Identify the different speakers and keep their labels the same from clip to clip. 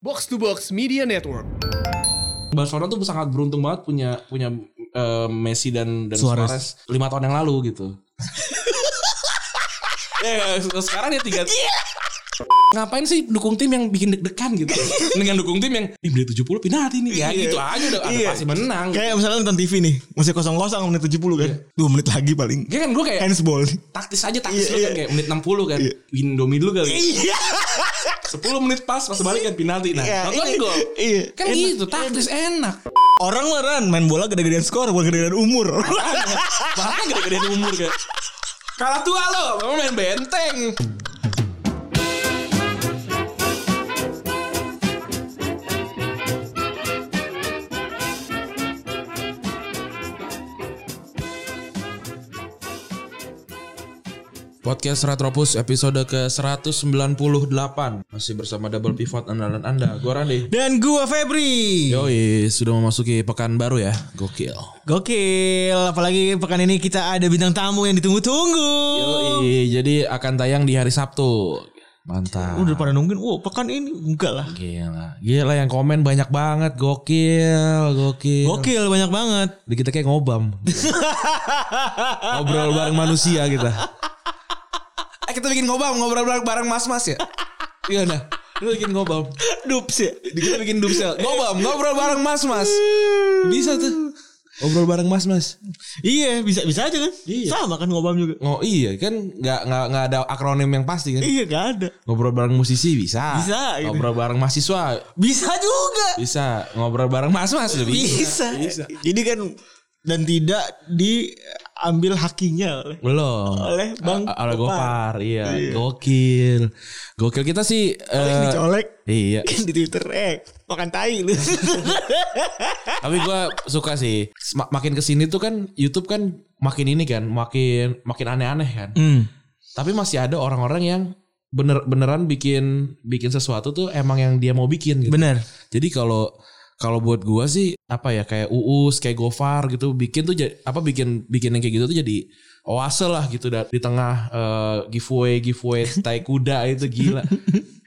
Speaker 1: Box to Box Media Network.
Speaker 2: Barcelona tuh sangat beruntung banget punya punya eh, Messi dan dan
Speaker 3: Suarez.
Speaker 2: Suarez lima tahun yang lalu gitu. ya se- sekarang ya tiga. Ngapain sih dukung tim yang bikin deg-degan gitu? Dengan dukung tim yang ih beli 70 penalti nih. Ya gitu aja udah ada
Speaker 3: Iya.
Speaker 2: pasti menang.
Speaker 3: Kayak misalnya nonton TV nih, masih kosong-kosong menit 70 kan. Dua menit lagi paling.
Speaker 2: Dia kan gue kayak
Speaker 3: Handsball nih.
Speaker 2: taktis aja taktis lu
Speaker 3: Iya,
Speaker 2: kan
Speaker 3: iya.
Speaker 2: kayak menit 60 kan.
Speaker 3: Iya.
Speaker 2: Indomie dulu kali.
Speaker 3: Iya.
Speaker 2: 10 menit pas pas balik kan penalti. Nah,
Speaker 3: Iya,
Speaker 2: nonton
Speaker 3: iya.
Speaker 2: gol.
Speaker 3: Iya.
Speaker 2: Kan
Speaker 3: Enak.
Speaker 2: gitu taktis enak.
Speaker 3: Orang mah Ran, main bola gede-gedean skor, bukan gede-gedean umur.
Speaker 2: Bahkan gede-gedean umur kan. Kalah tua lo, kamu main benteng. Podcast Retropus episode ke-198 Masih bersama Double Pivot andalan Anda Gue Randy
Speaker 3: Dan gua Febri.
Speaker 2: Yoi, sudah memasuki pekan baru ya Gokil
Speaker 3: Gokil, apalagi pekan ini kita ada bintang tamu yang ditunggu-tunggu.
Speaker 2: Yoi, jadi akan tayang di hari Sabtu Mantap
Speaker 3: Udah pada nungguin, wow pekan ini enggak lah.
Speaker 2: Gila, gila yang komen banyak banget, gokil, gokil.
Speaker 3: Gokil banyak banget.
Speaker 2: Jadi kita kayak ngobam. Ngobrol bareng manusia kita. Eh kita bikin ngobam, ngobrol bareng, bareng mas-mas ya? Iya nah, kita bikin ngobam.
Speaker 3: Dups ya.
Speaker 2: Kita bikin dubsel, ngobam, ngobrol bareng mas-mas. Bisa tuh. Ngobrol bareng mas-mas.
Speaker 3: Iya, bisa bisa aja kan.
Speaker 2: Iya.
Speaker 3: Sama kan ngobam juga.
Speaker 2: Oh iya kan nggak nggak nggak ada akronim yang pasti kan.
Speaker 3: Iya, gak ada.
Speaker 2: Ngobrol bareng musisi bisa.
Speaker 3: Bisa, gitu.
Speaker 2: Ngobrol bareng mahasiswa
Speaker 3: Bisa juga.
Speaker 2: bisa. Ngobrol bareng mas-mas juga
Speaker 3: bisa. Jadi kan dan tidak diambil hakinya oleh
Speaker 2: Belum.
Speaker 3: Oleh Bang
Speaker 2: A- oleh Gopar,
Speaker 3: Gopar.
Speaker 2: iya.
Speaker 3: Iya.
Speaker 2: Gokil. Gokil kita sih
Speaker 3: Paling
Speaker 2: eh,
Speaker 3: dicolek
Speaker 2: Iya.
Speaker 3: di Twitter eh makan tai lu.
Speaker 2: Tapi gua suka sih. Mak- Makin kesini tuh kan YouTube kan makin ini kan, makin makin aneh-aneh kan.
Speaker 3: Hmm.
Speaker 2: Tapi masih ada orang-orang yang bener beneran bikin bikin sesuatu tuh emang yang dia mau bikin gitu.
Speaker 3: Benar.
Speaker 2: Jadi kalau kalau buat gua sih apa ya kayak Uus, kayak Gofar gitu bikin tuh jadi, apa bikin bikin yang kayak gitu tuh jadi oase lah gitu da- di tengah eh, giveaway giveaway tai kuda itu gila.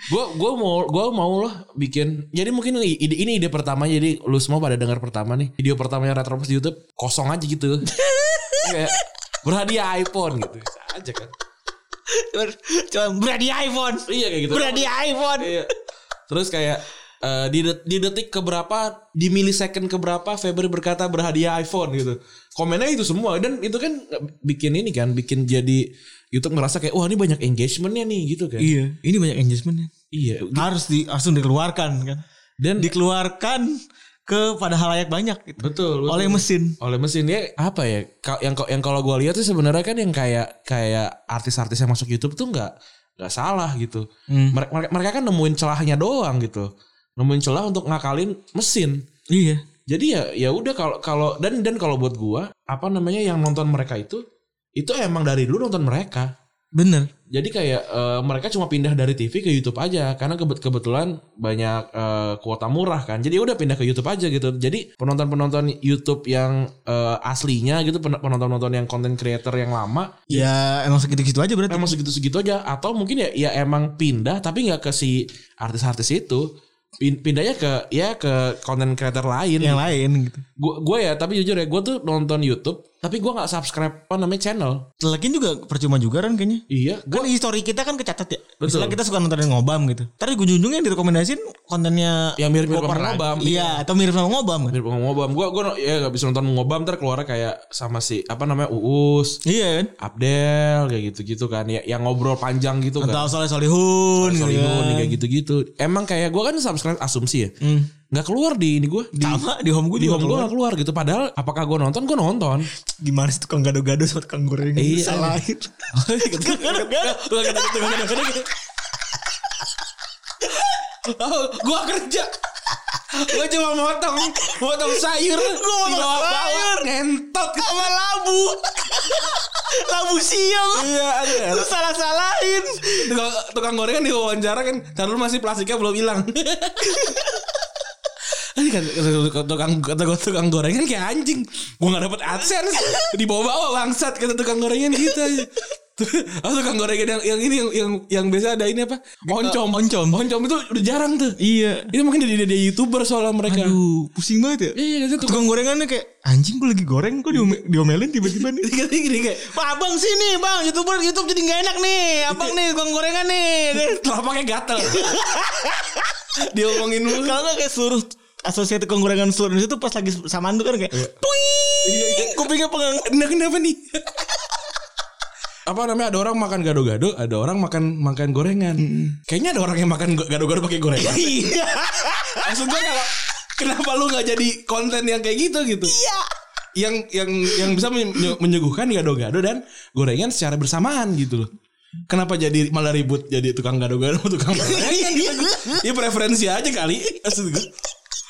Speaker 2: gua gua mau gua mau lah bikin. Jadi mungkin i- ide ini ide pertama jadi lu semua pada dengar pertama nih. Video pertamanya Retropos di YouTube kosong aja gitu. kayak berhadiah iPhone gitu. Bisa aja kan.
Speaker 3: Cuma berani iPhone.
Speaker 2: Iya kayak gitu.
Speaker 3: Berani iPhone.
Speaker 2: Iya. Terus kayak eh, di, det- di detik keberapa, di milisecond keberapa Febri berkata berhadiah iPhone gitu. Komennya itu semua dan itu kan bikin ini kan, bikin jadi YouTube ngerasa kayak wah ini banyak engagementnya nih gitu kan.
Speaker 3: Iya, ini banyak engagement
Speaker 2: Iya.
Speaker 3: Harus di langsung dikeluarkan kan.
Speaker 2: Dan
Speaker 3: Dikeluarkan kepada halayak banyak gitu.
Speaker 2: betul, betul.
Speaker 3: Oleh mesin.
Speaker 2: oleh mesin dia apa ya ka- yang yang kalau gua lihat sih sebenarnya kan yang kayak kayak artis-artis yang masuk YouTube tuh nggak nggak salah gitu
Speaker 3: Hmm.
Speaker 2: mereka, mereka mereka kan nemuin celahnya doang gitu nemuin celah untuk ngakalin mesin
Speaker 3: Iya.
Speaker 2: Jadi ya ya udah kalau kalau dan dan kalau buat gua apa namanya yang nonton mereka itu itu emang dari dulu nonton mereka.
Speaker 3: Bener.
Speaker 2: Jadi kayak eh, mereka cuma pindah dari TV ke YouTube aja karena kebet- kebetulan banyak eh, kuota murah kan. Jadi udah pindah ke YouTube aja gitu. Jadi penonton-penonton YouTube yang eh, aslinya gitu pen- penonton-penonton yang content creator yang lama
Speaker 3: Ya emang segitu-gitu aja berarti.
Speaker 2: emang segitu-segitu aja atau mungkin ya ya emang pindah tapi nggak ke si artis-artis itu Pin- pindahnya ke ya ke content creator lain
Speaker 3: Yang lain gitu.
Speaker 2: gua gua ya tapi jujur ya gua tuh nonton YouTube tapi gua nggak subscribe apa namanya channel
Speaker 3: Lagian juga percuma juga kan kayaknya.
Speaker 2: iya
Speaker 3: Kan history kita kan kecatat ya.
Speaker 2: Betul.
Speaker 3: Misalnya kita suka nontonin ngobam gitu. Ntar ujung-ujungnya yang direkomendasin kontennya
Speaker 2: Yang mirip-mirip sama
Speaker 3: Gopar lagi.
Speaker 2: Ngobam, gitu ya.
Speaker 3: Iya, atau mirip sama ngobam kan.
Speaker 2: mirip sama ngobam gua gua no- ya nggak bisa nonton ngobam ntar keluar kayak sama si apa namanya uus
Speaker 3: Iya kan.
Speaker 2: Abdel kayak gitu-gitu kan ya yang ngobrol panjang gitu kan
Speaker 3: Atau Soleh Solihun gitu
Speaker 2: Solihun,
Speaker 3: kan.
Speaker 2: kayak gitu-gitu emang kayak gua kan subscribe asumsi ya
Speaker 3: Hmm.
Speaker 2: nggak keluar di ini gua di,
Speaker 3: Sama di home gue
Speaker 2: di
Speaker 3: juga.
Speaker 2: home gua
Speaker 3: keluar.
Speaker 2: nggak keluar gitu padahal apakah gua nonton gua nonton
Speaker 3: Gimana sih tukang gado-gado sama tukang goreng.
Speaker 2: Iya.
Speaker 3: Salahin. tukang gado-gado.
Speaker 2: Oh, gua kerja. gua cuma motong, motong sayur. Gua
Speaker 3: motong sayur.
Speaker 2: ngentot.
Speaker 3: Sama labu. labu siam.
Speaker 2: Iya, ada.
Speaker 3: Lu salah-salahin.
Speaker 2: Tukang, tukang gorengan diwawancara kan, dan lu masih plastiknya belum hilang. Ini kan tukang tukang tukang gorengan kayak anjing. Gua gak dapet AdSense. Dibawa-bawa bangsat kata tukang gorengan kita. Atau tukang gorengan yang, yang ini yang, yang yang biasa ada ini apa? Oncom.
Speaker 3: oncom.
Speaker 2: Oncom itu udah jarang tuh.
Speaker 3: Iya.
Speaker 2: Itu mungkin dia, dia, dia youtuber soalnya mereka.
Speaker 3: Aduh, pusing banget ya.
Speaker 2: Iya, itu tukang
Speaker 3: Tukang gorengannya kayak anjing gue lagi goreng kok diome- diomelin tiba-tiba nih.
Speaker 2: gini gini kayak
Speaker 3: Wah, abang sini bang, youtuber YouTube jadi nggak enak nih. Abang nih tukang gorengan nih.
Speaker 2: telapaknya gatel. dia ngomongin mulu.
Speaker 3: Kalau nggak kayak gitu. seluruh asosiasi tukang gorengan seluruh Indonesia tuh pas lagi samandu kan kayak puing kupingnya pengang
Speaker 2: Nah, kenapa nih? apa namanya ada orang makan gado-gado, ada orang makan makan gorengan. Kayaknya ada orang yang makan go- gado-gado pakai gorengan.
Speaker 3: iya
Speaker 2: Maksud gue kalau kenapa lu nggak jadi konten yang kayak gitu gitu?
Speaker 3: iya
Speaker 2: Yang yang yang bisa menye- menyuguhkan gado-gado dan gorengan secara bersamaan gitu loh. Kenapa jadi malah ribut jadi tukang gado-gado tukang
Speaker 3: Iya,
Speaker 2: gorengan? ya preferensi aja kali. Maksud gue.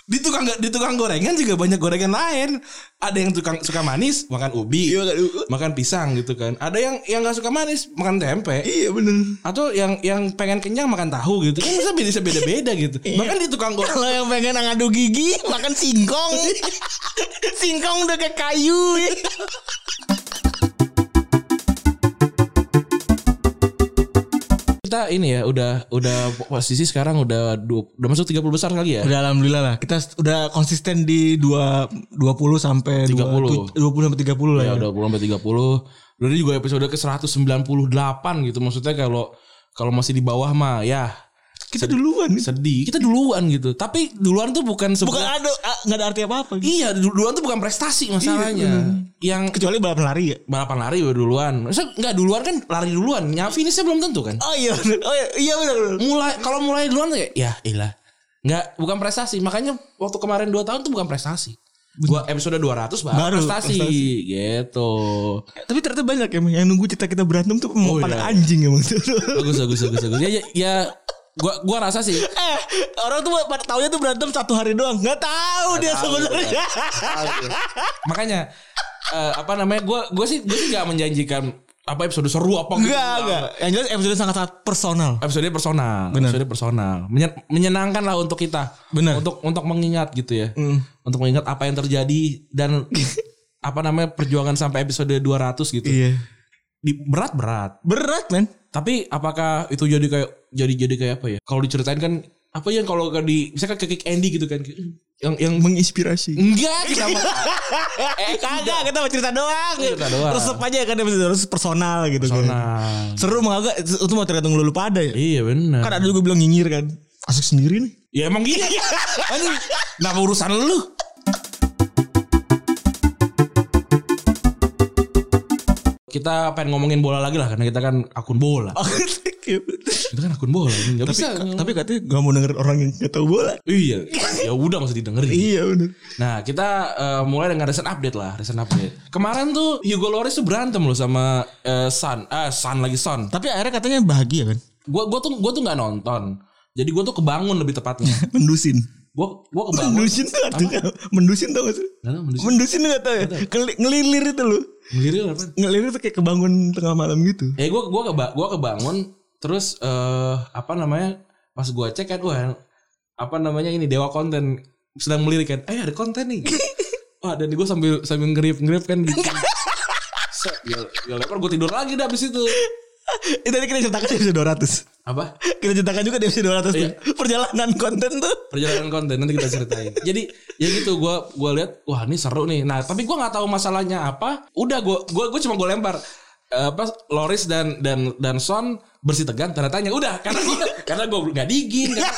Speaker 2: Di tukang di tukang gorengan juga banyak gorengan lain. Ada yang tukang suka manis makan ubi,
Speaker 3: Iya, makan ubi.
Speaker 2: makan pisang gitu kan. Ada yang yang nggak suka manis makan tempe
Speaker 3: iya bener
Speaker 2: atau yang yang pengen kenyang makan tahu gitu kan bisa bisa beda beda gitu
Speaker 3: Iya.
Speaker 2: bahkan di tukang goreng
Speaker 3: kalau yang pengen ngadu gigi makan singkong singkong udah kayak kayu ya.
Speaker 2: kita ini ya udah udah posisi sekarang udah dua, udah masuk 30 besar kali ya
Speaker 3: udah alhamdulillah lah kita udah konsisten di dua dua puluh sampai
Speaker 2: 30.
Speaker 3: dua puluh sampai tiga puluh lah
Speaker 2: ya
Speaker 3: ya,
Speaker 2: udah 20 sampai 30 udah ini juga episode ke 198 gitu maksudnya kalau kalau masih di bawah mah ya
Speaker 3: kita duluan
Speaker 2: sedih kita duluan gitu tapi duluan tuh bukan
Speaker 3: bukan
Speaker 2: sebuah
Speaker 3: ada ah, nggak ada arti apa apa
Speaker 2: iya du- duluan tuh bukan prestasi
Speaker 3: Iya,
Speaker 2: masalahnya yang
Speaker 3: kecuali balap lari ya
Speaker 2: balapan lari udah duluan Maksudnya nggak duluan kan lari duluan ya finishnya belum tentu kan
Speaker 3: oh iya bener oh iya, iya bener, bener.
Speaker 2: mulai kalau mulai duluan tuh kayak ya ilah nggak bukan prestasi makanya waktu kemarin 2 tahun tuh bukan prestasi gua episode 200 baru,
Speaker 3: Baru
Speaker 2: prestasi,
Speaker 3: prestasi.
Speaker 2: gitu
Speaker 3: Tapi ternyata banyak emang yang nunggu cerita kita berantem tuh
Speaker 2: Oh,
Speaker 3: mau pada
Speaker 2: iya.
Speaker 3: anjing ya emang.
Speaker 2: bagus bagus bagus bagus ya ya, ya gua gua rasa sih
Speaker 3: eh, orang tuh pada taunya tuh berantem satu hari doang. Nggak tahu iya. dia
Speaker 2: tahu,
Speaker 3: sebenarnya.
Speaker 2: makanya eh, apa namanya gua gua sih gua sih nggak menjanjikan apa episode seru apa gitu.
Speaker 3: Enggak, enggak. Yang jelas episode sangat sangat personal.
Speaker 2: episode personal,
Speaker 3: Benar.
Speaker 2: episode personal, Menyen- menyenangkan lah untuk kita,
Speaker 3: Benar.
Speaker 2: untuk untuk mengingat gitu ya,
Speaker 3: Mm.
Speaker 2: untuk mengingat apa yang terjadi dan apa namanya perjuangan sampai episode 200 gitu,
Speaker 3: Iya.
Speaker 2: Di, berat berat,
Speaker 3: Berat, men.
Speaker 2: tapi apakah itu jadi kayak jadi jadi kayak apa ya? Kalau diceritain kan apa yang kalau ke- di misalkan ke kick Andy gitu kan, yang yang
Speaker 3: Menginspirasi.
Speaker 2: enggak kita mah
Speaker 3: eh, kagak, kita mau cerita doang.
Speaker 2: Cerita doang.
Speaker 3: Resep aja kan episode terus personal gitu kan.
Speaker 2: personal,
Speaker 3: Seru emang agak itu mau tergantung lu lu pada ya.
Speaker 2: iya benar.
Speaker 3: Kan ada juga bilang nyinyir kan. Asik sendiri nih.
Speaker 2: Ya emang gitu. Anjing, kenapa urusan lu? Kita pengen ngomongin bola lagi lah karena kita kan akun bola. Kita kan akun bola, ini nggak
Speaker 3: tapi, kan-
Speaker 2: bisa.
Speaker 3: tapi katanya gak mau denger orang yang gak tahu bola.
Speaker 2: Iya, ya udah nggak usah didengerin.
Speaker 3: Iya bener.
Speaker 2: Nah, kita eh, mulai dengan recent update lah, recent update. Kemarin tuh Hugo Loris tuh berantem loh sama eh, Sun, ah Sun lagi Sun.
Speaker 3: Tapi akhirnya katanya bahagia kan.
Speaker 2: Gua gua tuh gua tuh nggak nonton. Jadi gua tuh kebangun lebih tepatnya.
Speaker 3: Mendusin.
Speaker 2: Gua gua kebangun.
Speaker 3: Mendusin tuh artinya mendusin tau gak sih?
Speaker 2: Nggak tahu, mendusin.
Speaker 3: Mendusin tuh gak tau ya? Ngeli- Ngelilir itu loh.
Speaker 2: Ngelirik apa?
Speaker 3: Ngelilir tuh kayak kebangun tengah malam gitu.
Speaker 2: Eh gue gua keba gua kebangun terus eh apa namanya pas gua cek kan wah apa namanya ini dewa konten sedang melirik kan eh ada konten nih wah dan gue sambil sambil ngerip ngerip kan gitu Set, ya, ya lebar gue tidur lagi dah abis itu
Speaker 3: Eh, tadi kita ceritakan di episode 200.
Speaker 2: apa
Speaker 3: Kita ceritakan juga di episode 200 tuh. Perjalanan konten tuh.
Speaker 2: perjalanan konten nanti kita ceritain jadi ya gitu gue gua lihat wah ini seru nih nah tapi gua nggak tahu masalahnya apa udah gue gua gua cuma gue lempar Eh, apa Loris dan dan dan Son bersih tegang tanda tanya udah karena gue karena gue nggak digin karena,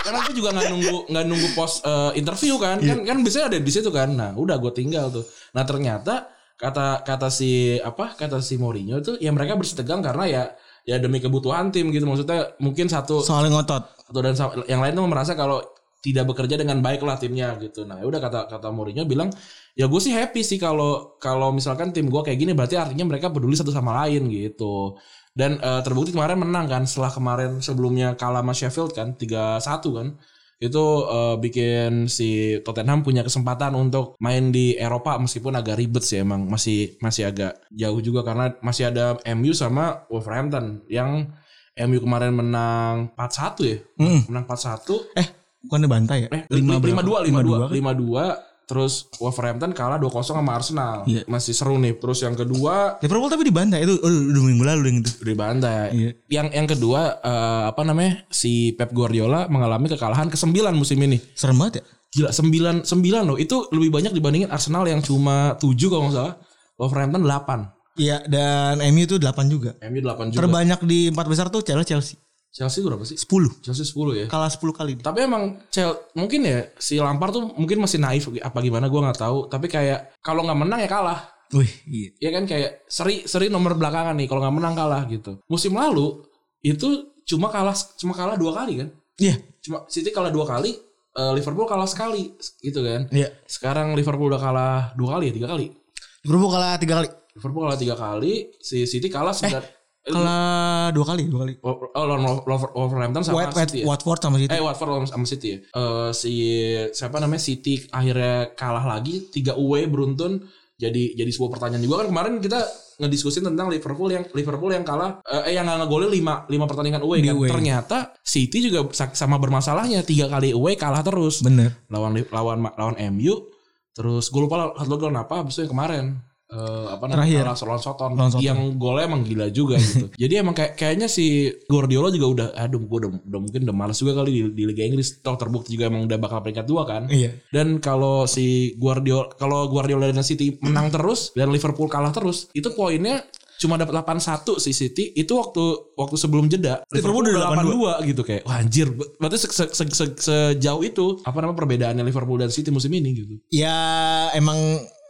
Speaker 2: karena gue juga nggak nunggu nggak nunggu pos eh, interview kan kan kan biasanya ada di situ kan nah udah gue tinggal tuh nah ternyata kata kata si apa kata si Mourinho itu ya mereka bersih tegang karena ya ya demi kebutuhan tim gitu maksudnya mungkin satu
Speaker 3: Soalnya ngotot.
Speaker 2: atau dan sa- yang lain tuh merasa kalau tidak bekerja dengan baik lah timnya gitu. Nah, ya udah kata kata Mourinho bilang, "Ya gue sih happy sih kalau kalau misalkan tim gue kayak gini berarti artinya mereka peduli satu sama lain gitu." Dan eh, terbukti kemarin menang kan setelah kemarin sebelumnya kalah sama Sheffield kan 3-1 kan. Itu eh, bikin si Tottenham punya kesempatan untuk main di Eropa meskipun agak ribet sih emang masih masih agak jauh juga karena masih ada MU sama Wolverhampton yang MU kemarin menang
Speaker 3: Hmm.
Speaker 2: 4-1 ya. Menang 4-1.
Speaker 3: Eh bukannya bantai ya?
Speaker 2: Eh, 5
Speaker 3: berapa?
Speaker 2: 52
Speaker 3: Lima dua
Speaker 2: 52
Speaker 3: kan?
Speaker 2: 52 Terus Wolverhampton kalah 2-0 sama Arsenal.
Speaker 3: Iya.
Speaker 2: Masih seru nih. Terus yang kedua
Speaker 3: Liverpool tapi dibantai itu oh, udah minggu lalu yang itu.
Speaker 2: dibantai.
Speaker 3: Iya.
Speaker 2: Yang yang kedua eh, apa namanya? Si Pep Guardiola mengalami kekalahan ke-9 musim ini.
Speaker 3: Serem banget ya.
Speaker 2: Gila 9 9 loh. Itu lebih banyak dibandingin Arsenal yang cuma 7 kalau nggak salah. Wolverhampton 8.
Speaker 3: Iya dan MU itu 8 juga.
Speaker 2: MU 8 juga.
Speaker 3: Terbanyak di empat besar tuh Chelsea Chelsea.
Speaker 2: Chelsea berapa sih?
Speaker 3: 10.
Speaker 2: Chelsea 10 ya.
Speaker 3: Kalah 10 kali dia.
Speaker 2: Tapi emang Chel mungkin ya si Lampard tuh mungkin masih naif apa gimana gua nggak tahu. Tapi kayak kalau nggak menang ya kalah.
Speaker 3: Wih, iya.
Speaker 2: Ya kan kayak seri seri nomor belakangan nih kalau nggak menang kalah gitu. Musim lalu itu cuma kalah cuma kalah dua kali kan.
Speaker 3: Iya,
Speaker 2: Cuma City kalah dua kali, eh, Liverpool kalah sekali gitu kan.
Speaker 3: iya.
Speaker 2: Sekarang Liverpool udah kalah dua kali ya, tiga kali.
Speaker 3: Liverpool kalah 3 kali.
Speaker 2: Liverpool kalah tiga kali, si City kalah
Speaker 3: Eh,
Speaker 2: sembilan. Eh,
Speaker 3: Kalah 2 kali, 2 kali.
Speaker 2: Oh, lawan Wolver- Wolverhampton sama
Speaker 3: White, White,
Speaker 2: City. ya?
Speaker 3: Watford sama City.
Speaker 2: Eh Watford lawan- sama City ya. Eh, si siapa namanya City akhirnya kalah lagi tiga away beruntun. Jadi jadi sebuah pertanyaan juga kan kemarin kita ngediskusin tentang Liverpool yang Liverpool yang kalah eh yang nggak ngegolin lima lima pertandingan away
Speaker 3: Di
Speaker 2: kan.
Speaker 3: away.
Speaker 2: Ternyata City juga sa- sama bermasalahnya tiga kali away kalah terus
Speaker 3: Bener.
Speaker 2: lawan Li- lawan lawan MU terus gue lupa lawan- lawan lawan apa abis itu yang kemarin Eh, apa
Speaker 3: Terakhir.
Speaker 2: namanya lawan Soton
Speaker 3: Lawan Soton.
Speaker 2: yang golnya emang gila juga gitu jadi emang kayak kayaknya si Guardiola juga udah aduh gue udah, udah mungkin udah males juga kali di, di Liga Inggris toh terbukti juga emang udah bakal peringkat dua kan
Speaker 3: Iya.
Speaker 2: dan kalau si Guardiola kalau Guardiola dan City menang terus dan Liverpool kalah terus itu poinnya cuma dapat 81 si City itu waktu waktu sebelum jeda
Speaker 3: Liverpool udah
Speaker 2: 82 gitu kayak wah anjir berarti se- se- se- se- sejauh itu apa nama perbedaannya Liverpool dan City musim ini gitu
Speaker 3: Ya emang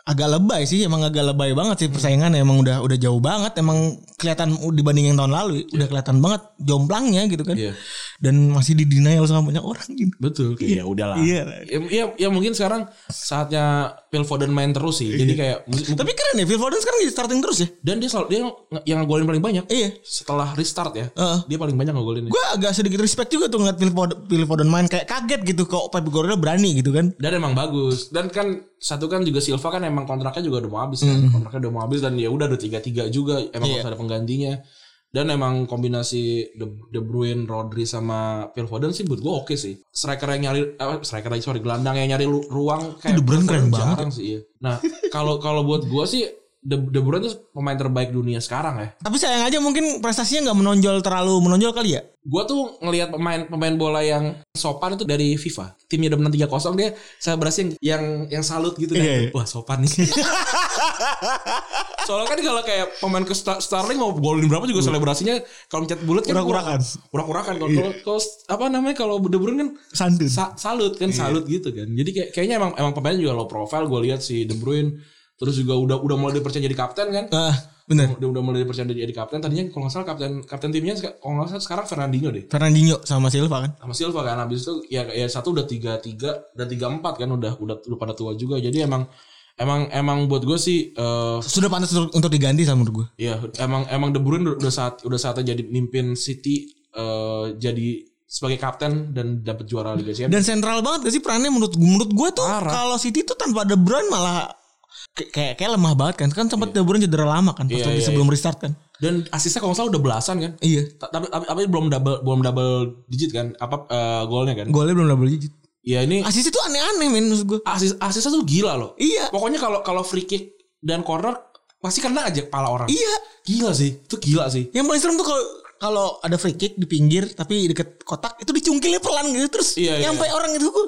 Speaker 3: agak lebay sih, emang agak lebay banget sih persaingan emang udah udah jauh banget, emang kelihatan dibanding yang tahun lalu udah kelihatan banget jomplangnya gitu kan.
Speaker 2: Iya.
Speaker 3: Dan masih di denial sama banyak orang gitu.
Speaker 2: betul kayak ya udahlah
Speaker 3: Iya.
Speaker 2: ya, ya, ya mungkin sekarang saatnya Phil Foden main terus sih jadi kayak mu-
Speaker 3: Iya. Tapi keren ya Phil Foden sekarang jadi starting terus ya.
Speaker 2: dan dia selalu dia yang ngegolin paling banyak
Speaker 3: Iya.
Speaker 2: setelah restart ya
Speaker 3: Heeh.
Speaker 2: dia paling banyak ngegolinnya
Speaker 3: Gue agak sedikit respect juga tuh ngeliat Phil Foden, Phil Foden main kayak kaget gitu kok Pep Guardiola berani gitu kan.
Speaker 2: dan emang bagus dan kan satu kan juga Silva kan emang kontraknya juga udah mau habis kan
Speaker 3: Hmm.
Speaker 2: kontraknya udah mau habis dan ya udah udah tiga tiga juga
Speaker 3: Iya.
Speaker 2: emang harus ada penggantinya dan emang kombinasi De, De Bruyne, Rodri sama Phil Foden sih buat gue oke sih. Striker yang nyari eh, striker lagi sorry gelandang yang nyari lu- ruang kayak
Speaker 3: De Bruyne keren
Speaker 2: jarang
Speaker 3: banget ya.
Speaker 2: sih. Iya. Nah, kalau kalau buat gue sih De, De Bruyne tuh pemain terbaik dunia sekarang ya.
Speaker 3: Tapi sayang aja mungkin prestasinya nggak menonjol terlalu menonjol kali ya.
Speaker 2: Gue tuh ngelihat pemain pemain bola yang sopan itu dari FIFA. Timnya udah menang 3-0 dia selebrasi yang yang, yang salut gitu
Speaker 3: Iya, iya.
Speaker 2: Wah, sopan nih. Soalnya kan kalau kayak pemain ke Star- Starling mau golin berapa juga selebrasinya kalau mencet bulat kan
Speaker 3: Iya. Urak-urakan. Iya.
Speaker 2: kurang- Urak-urakan kalau kalau kalau apa namanya kalau De Bruyne kan
Speaker 3: Santun.
Speaker 2: sa- salut
Speaker 3: Iya.
Speaker 2: kan salut gitu kan. Jadi kayak kayaknya emang emang pemain juga low profile gue lihat si De Bruyne terus juga udah udah mulai dipercaya jadi kapten kan.
Speaker 3: Ah, bener.
Speaker 2: Udah, udah mulai dipercaya jadi kapten tadinya kalau nggak salah kapten kapten timnya seka- kalau nggak salah sekarang Fernandinho deh
Speaker 3: Fernandinho sama Silva kan.
Speaker 2: sama Silva kan habis itu ya ya satu udah tiga tiga dan tiga empat kan udah udah udah pada tua juga jadi emang emang emang buat gue sih eh
Speaker 3: Sudah pantas untuk, untuk diganti sama menurut gue.
Speaker 2: ya emang emang De Bruyne udah saat udah saatnya jadi mimpin City eh jadi sebagai kapten dan dapat juara Liga Champions
Speaker 3: Dan sentral banget gak sih perannya menurut menurut gue tuh
Speaker 2: Parah.
Speaker 3: kalau City tuh tanpa De Bruyne malah kayak- kayak kayak lemah banget kan. Kan sempat De Bruyne cedera lama kan pas
Speaker 2: Iya,
Speaker 3: lagi
Speaker 2: iya,
Speaker 3: sebelum restart kan.
Speaker 2: dan asisnya kalau nggak salah udah belasan kan
Speaker 3: Iya.
Speaker 2: Ta- tapi, tapi tapi belum double belum double digit kan apa eh, golnya kan
Speaker 3: Golnya belum double digit.
Speaker 2: ya ini
Speaker 3: Asisnya tuh aneh-aneh men menurut gue.
Speaker 2: asis asisnya tuh gila loh
Speaker 3: Iya.
Speaker 2: pokoknya kalau kalau free kick dan corner pasti kena aja kepala orang
Speaker 3: Iya.
Speaker 2: gila sih itu gila sih
Speaker 3: Yang paling serem tuh kalau kalau ada free kick di pinggir tapi deket kotak itu dicungkilnya pelan gitu terus
Speaker 2: Iya, iya.
Speaker 3: nyampe orang gitu. itu gue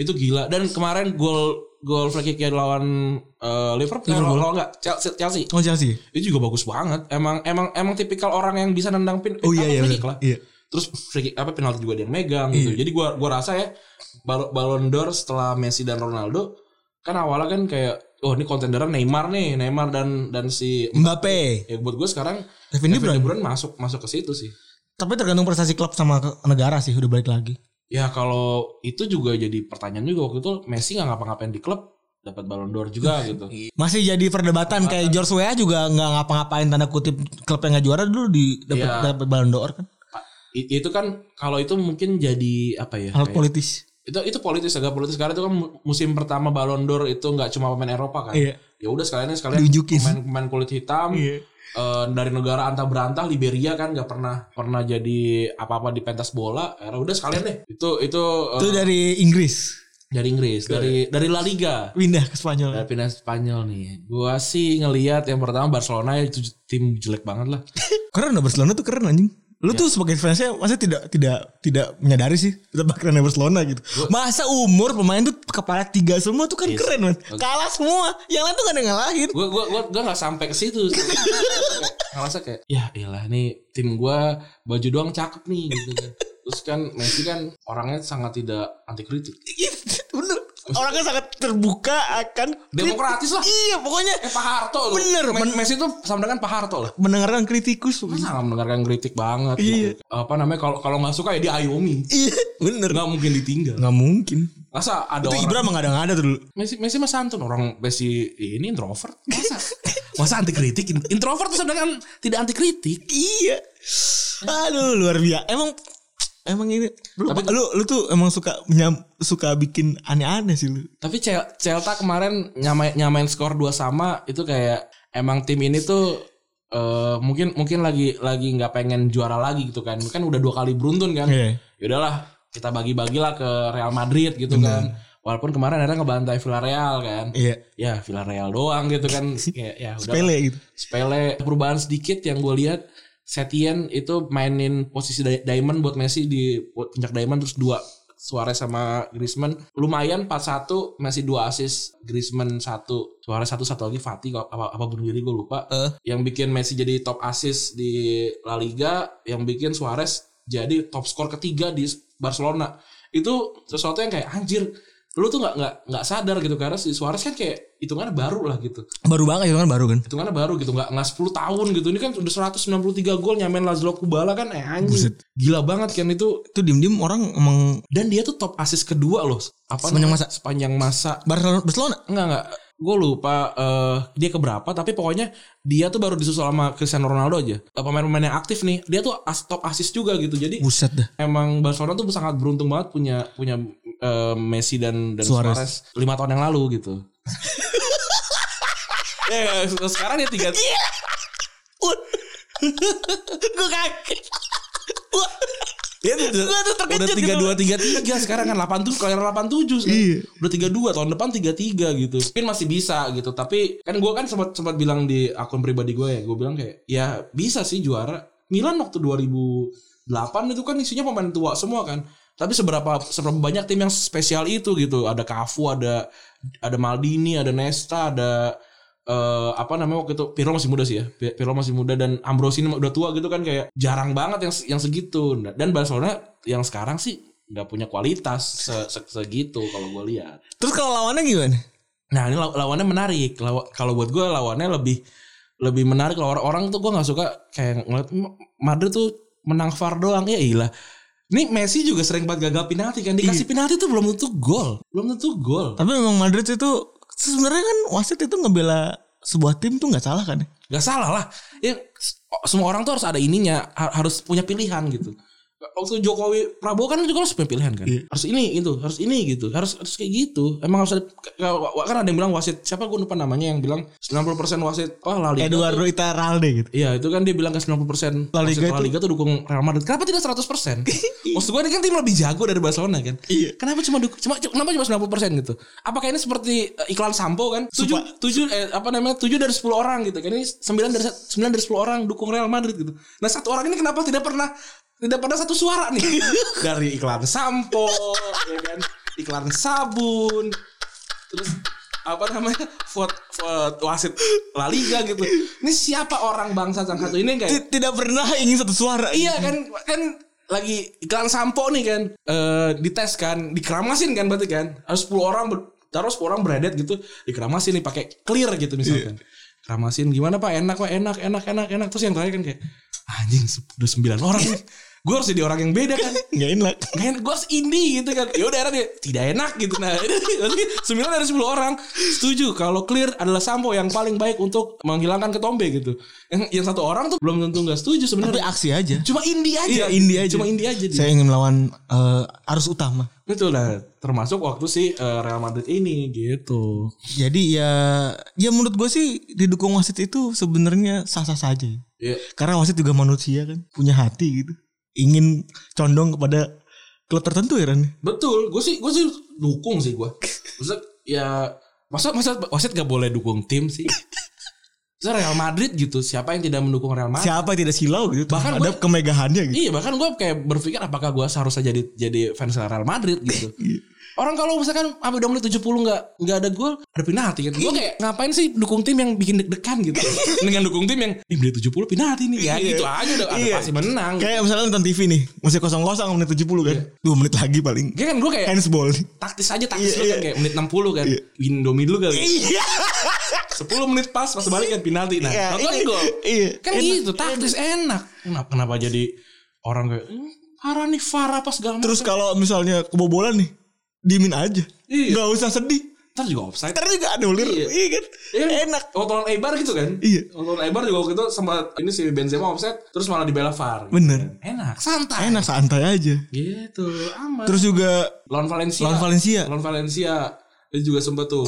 Speaker 2: itu gila dan kemarin gol gol free kick lawan eh, Liverpool,
Speaker 3: Liverpool.
Speaker 2: kalau nggak Chelsea, Chelsea
Speaker 3: Oh Chelsea.
Speaker 2: itu juga bagus banget emang emang emang tipikal orang yang bisa nendang pin eh,
Speaker 3: Oh, iya,
Speaker 2: apa,
Speaker 3: iya,
Speaker 2: free
Speaker 3: bener.
Speaker 2: kick lah
Speaker 3: Iya.
Speaker 2: terus free kick, apa penalti juga dia yang megang gitu jadi gua gua rasa ya Bal- Ballon d'Or setelah Messi dan Ronaldo kan awalnya kan kayak oh ini kontenderan Neymar nih Neymar dan dan si
Speaker 3: Mbappe.
Speaker 2: ya buat gue sekarang
Speaker 3: Kevin
Speaker 2: Kevin
Speaker 3: De Bruyne.
Speaker 2: De Bruyne masuk masuk ke situ sih
Speaker 3: Tapi tergantung prestasi klub sama ke- negara sih udah balik lagi.
Speaker 2: Ya kalau itu juga jadi pertanyaan juga waktu itu Messi nggak ngapa-ngapain di klub dapat Ballon d'Or juga gitu.
Speaker 3: Masih jadi perdebatan kayak George Weah juga nggak ngapa-ngapain tanda kutip klub yang nggak juara dulu di dapat
Speaker 2: Iya.
Speaker 3: dapat Ballon d'Or kan.
Speaker 2: I- itu kan kalau itu mungkin jadi apa ya?
Speaker 3: Hal
Speaker 2: kayak-
Speaker 3: politis.
Speaker 2: itu itu politis agak politis karena itu kan mu- musim pertama Ballon d'Or itu nggak cuma pemain Eropa kan.
Speaker 3: Iya.
Speaker 2: Ya udah sekalian sekalian
Speaker 3: Diunjukin.
Speaker 2: pemain pemain kulit hitam
Speaker 3: Iya.
Speaker 2: eh, dari negara antah berantah Liberia kan nggak pernah pernah Ya jadi apa-apa di pentas bola. Era udah sekalian deh. Itu itu eh,
Speaker 3: Itu dari Inggris.
Speaker 2: dari Inggris, dari dari La Liga.
Speaker 3: Pindah ke Spanyol.
Speaker 2: Dari pindah Spanyol nih. Gua sih ngelihat yang pertama Barcelona ya, itu tim jelek banget lah.
Speaker 3: Keren lah, Barcelona tuh keren anjing. Lu tuh sebagai fansnya masa tidak tidak tidak menyadari sih betapa kerennya Barcelona gitu. Masa umur pemain tuh kepala tiga semua tuh kan keren man. Kalah semua. Yang lain tuh gak ada yang ngalahin.
Speaker 2: Gue gua gua gua nggak sampai ke situ. Ngerasa kayak ya elah nih tim gua baju doang cakep nih gitu kan. Terus kan Messi kan orangnya sangat tidak anti kritik.
Speaker 3: Bener. Orangnya sangat terbuka akan
Speaker 2: Demokratis lah.
Speaker 3: Iya pokoknya
Speaker 2: Eh Pak Harto loh.
Speaker 3: Bener,
Speaker 2: Me- Messi tuh sama dengan Pak Harto lah.
Speaker 3: mendengarkan kritikus.
Speaker 2: Masa nggak mendengarkan kritik banget.
Speaker 3: Iya.
Speaker 2: gitu. Apa namanya kalau kalau nggak suka ya diayomi.
Speaker 3: Iya bener.
Speaker 2: Nggak mungkin ditinggal.
Speaker 3: Gak mungkin.
Speaker 2: Masa ada
Speaker 3: Itu
Speaker 2: orang
Speaker 3: Ibra emang ada tuh dulu.
Speaker 2: Messi Messi mah santun orang Messi ini introvert. Masa masa anti kritik? Introvert tuh sebenarnya kan tidak anti kritik.
Speaker 3: Iya. Aduh luar biasa. Emang emang ini lu, lu, lu tuh emang suka menyam- suka bikin aneh-aneh sih lu.
Speaker 2: Tapi Cel- Celta kemarin nyamain nyamain skor dua sama itu kayak emang tim ini tuh eh, mungkin mungkin lagi lagi nggak pengen juara lagi gitu kan. Kan udah dua kali beruntun kan.
Speaker 3: Iya.
Speaker 2: Yaudahlah kita bagi-bagilah ke Real Madrid gitu kan. Walaupun kemarin akhirnya ngebantai Villarreal kan.
Speaker 3: Iya.
Speaker 2: Ya Villarreal doang gitu kan. Kayak ya udah
Speaker 3: Pele gitu.
Speaker 2: sepele perubahan sedikit yang gue lihat Setien itu mainin posisi Di- Diamond buat Messi di puncak Diamond terus dua Suarez sama Griezmann lumayan 4-1 Messi dua assist Griezmann satu Suarez satu satu lagi Fatih kalau- apa apa bunuh diri gue lupa
Speaker 3: Eh.
Speaker 2: yang bikin Messi jadi top assist di La Liga yang bikin Suarez jadi top skor ketiga di Barcelona itu sesuatu yang kayak anjir lu tuh nggak nggak nggak sadar gitu karena si Suarez kan kayak hitungannya baru lah gitu
Speaker 3: Baru banget itu kan baru kan.
Speaker 2: hitungannya baru gitu nggak nggak 10 tahun gitu ini kan udah 193 gol nyamain Lazlo Kubala kan eh anjing
Speaker 3: Buset.
Speaker 2: gila banget kan itu
Speaker 3: Itu diem-diem orang emang
Speaker 2: dan dia tuh top assist kedua loh apa
Speaker 3: Sepanjang
Speaker 2: namanya?
Speaker 3: masa?
Speaker 2: sepanjang masa
Speaker 3: Barcelona Barcelona.
Speaker 2: enggak enggak gue lupa eh dia keberapa tapi pokoknya dia tuh baru disusul sama Cristiano Ronaldo aja Eh, pemain-pemain yang aktif nih dia tuh as- top assist juga gitu jadi
Speaker 3: Buset dah.
Speaker 2: emang Barcelona tuh sangat beruntung banget punya punya eh, Messi dan dan
Speaker 3: Suarez.
Speaker 2: Suarez lima tahun yang lalu gitu ya sekarang dia tiga
Speaker 3: Iya. Gue kaget.
Speaker 2: Dia tuh Iya, udah,
Speaker 3: Gua tuh terkejut
Speaker 2: udah
Speaker 3: gitu
Speaker 2: tiga dua
Speaker 3: loh.
Speaker 2: tiga tiga sekarang kan delapan tujuh kalau delapan tujuh
Speaker 3: Iya.
Speaker 2: udah tiga dua tahun depan tiga tiga gitu mungkin masih bisa gitu tapi kan gue kan sempat sempat bilang di akun pribadi gue ya gue bilang kayak ya bisa sih juara Milan waktu 2008 itu kan isinya pemain tua semua kan tapi seberapa seberapa banyak tim yang spesial itu gitu ada Cafu ada ada Maldini ada Nesta ada eh apa namanya waktu itu Pirlo masih muda sih ya Pi- Pirlo masih muda dan Ambrosini udah tua gitu kan kayak jarang banget yang se- yang segitu Nah, dan Barcelona yang sekarang sih nggak punya kualitas se- se- segitu kalau gue lihat
Speaker 3: Terus kalau lawannya gimana?
Speaker 2: nah ini law- lawannya menarik Lawa- kalau buat gue lawannya lebih lebih menarik Lawan orang tuh gue nggak suka kayak ngeliat "M- Madrid tuh menang VAR doang ya ilah ini Messi juga sering banget gagal penalti kan dikasih penalti tuh belum tentu gol belum tentu gol
Speaker 3: Tapi memang Madrid itu sebenarnya kan wasit itu ngebela sebuah tim tuh nggak salah kan? ya?
Speaker 2: nggak salah lah ya s- semua orang tuh harus ada ininya ha- harus punya pilihan gitu waktu Jokowi Prabowo kan juga harus punya pilihan kan
Speaker 3: Iya.
Speaker 2: harus ini itu harus ini gitu harus harus kayak gitu emang harus ada k- k- kan ada yang bilang wasit siapa gue lupa namanya yang bilang 90% wasit oh La Liga
Speaker 3: Eduardo Itaralde gitu.
Speaker 2: Iya itu kan dia bilang ke 90%
Speaker 3: La Liga
Speaker 2: wasit La Liga tuh dukung Real Madrid. Kenapa tidak 100%? Maksud gue ini kan tim lebih jago dari Barcelona kan.
Speaker 3: Iya.
Speaker 2: Kenapa cuma duk- cuma kenapa cuma 90% gitu? Apakah ini seperti eh, iklan sampo kan? 7
Speaker 3: Supa-
Speaker 2: 7 eh, apa namanya? 7 dari 10 orang gitu kan. Ini 9 dari 9 dari 10 orang dukung Real Madrid gitu. Nah, satu orang ini kenapa tidak pernah tidak pernah satu suara nih dari iklan sampo ya kan? Iklan sabun. Terus apa namanya? Vote, vote wasit La Liga gitu. Ini siapa orang bangsa yang satu ini kayak
Speaker 3: Ti- Tidak pernah ingin satu suara.
Speaker 2: Iya kan kan lagi iklan sampo nih kan eh dites kan dikeramasin kan berarti kan harus 10 orang ber- taruh 10 orang beredet gitu dikeramasin nih pakai clear gitu misalkan keramasin gimana pak enak pak enak enak enak enak terus yang terakhir kan kayak anjing se- udah 9 orang nih gue harus jadi orang yang beda kan
Speaker 3: Nggak enak.
Speaker 2: Gak enak, gue harus indie gitu kan ya udah akhirnya dia tidak enak gitu nah ini berarti 9 dari 10 orang setuju kalau clear adalah sampo yang paling baik untuk menghilangkan ketombe gitu yang, yang satu orang tuh belum tentu nggak setuju sebenarnya
Speaker 3: Tapi aksi aja.
Speaker 2: Cuma Indi aja.
Speaker 3: Iya, indie aja.
Speaker 2: Cuma Indi aja. dia.
Speaker 3: Saya ingin melawan eh, arus utama.
Speaker 2: Betul lah. Termasuk waktu si eh, Real Madrid ini gitu.
Speaker 3: Jadi ya ya menurut gue sih didukung wasit itu sebenarnya sah-sah saja. ya.
Speaker 2: Iya.
Speaker 3: Karena wasit juga manusia kan, punya hati gitu. Ingin condong kepada klub tertentu ya Ran?
Speaker 2: Betul, gue sih gue sih dukung sih gue. Maksudnya ya masa masa wasit gak boleh dukung tim sih. Masa Real Madrid gitu, siapa yang tidak mendukung Real Madrid?
Speaker 3: Siapa yang tidak silau gitu
Speaker 2: Bahkan
Speaker 3: terhadap kemegahannya gitu.
Speaker 2: Iya, bahkan gue kayak berpikir apakah gue seharusnya jadi jadi fans Real Madrid gitu.
Speaker 3: Iya.
Speaker 2: Orang kalau misalkan sampai udah menit 70 nggak nggak ada gol, ada penalti kan.
Speaker 3: Iya.
Speaker 2: Gue kayak ngapain sih dukung tim yang bikin deg-degan gitu. Dengan dukung tim yang "Ih, menit 70 penalti nih. Ya
Speaker 3: Iya.
Speaker 2: gitu aja udah ada
Speaker 3: Iya.
Speaker 2: pasti menang.
Speaker 3: Kayak misalnya nonton TV nih, masih kosong-kosong menit 70 kan. Dua menit lagi paling.
Speaker 2: Dia kan gue kayak
Speaker 3: Handsball.
Speaker 2: taktis aja taktis
Speaker 3: Iya,
Speaker 2: lu kan
Speaker 3: iya.
Speaker 2: kayak menit 60 kan.
Speaker 3: Iya.
Speaker 2: Indomie dulu kali.
Speaker 3: Iya.
Speaker 2: 10 menit pas pas balik kan penalti nah
Speaker 3: Iya,
Speaker 2: nonton
Speaker 3: iya,
Speaker 2: gol
Speaker 3: iya.
Speaker 2: kan
Speaker 3: Enak,
Speaker 2: gitu taktis enak kenapa kenapa jadi orang kayak "Hmm, parah nih parah pas segala
Speaker 3: Terus
Speaker 2: macam."
Speaker 3: kalau misalnya kebobolan nih, dimin aja.
Speaker 2: Iya.
Speaker 3: Gak usah sedih.
Speaker 2: ntar juga offside
Speaker 3: Ntar juga anulir.
Speaker 2: Iya.
Speaker 3: Iya, kan?
Speaker 2: Iya kan?
Speaker 3: Enak.
Speaker 2: Tontonan Eibar gitu kan?
Speaker 3: Iya.
Speaker 2: Tontonan Eibar juga waktu itu sempat ini si Benzema offset terus malah dibela VAR. gitu
Speaker 3: Bener.
Speaker 2: kan. Enak, santai.
Speaker 3: Enak santai aja.
Speaker 2: Gitu, aman.
Speaker 3: Terus juga
Speaker 2: lawan Valencia.
Speaker 3: lawan Valencia.
Speaker 2: Lawan Valencia itu juga sempat tuh.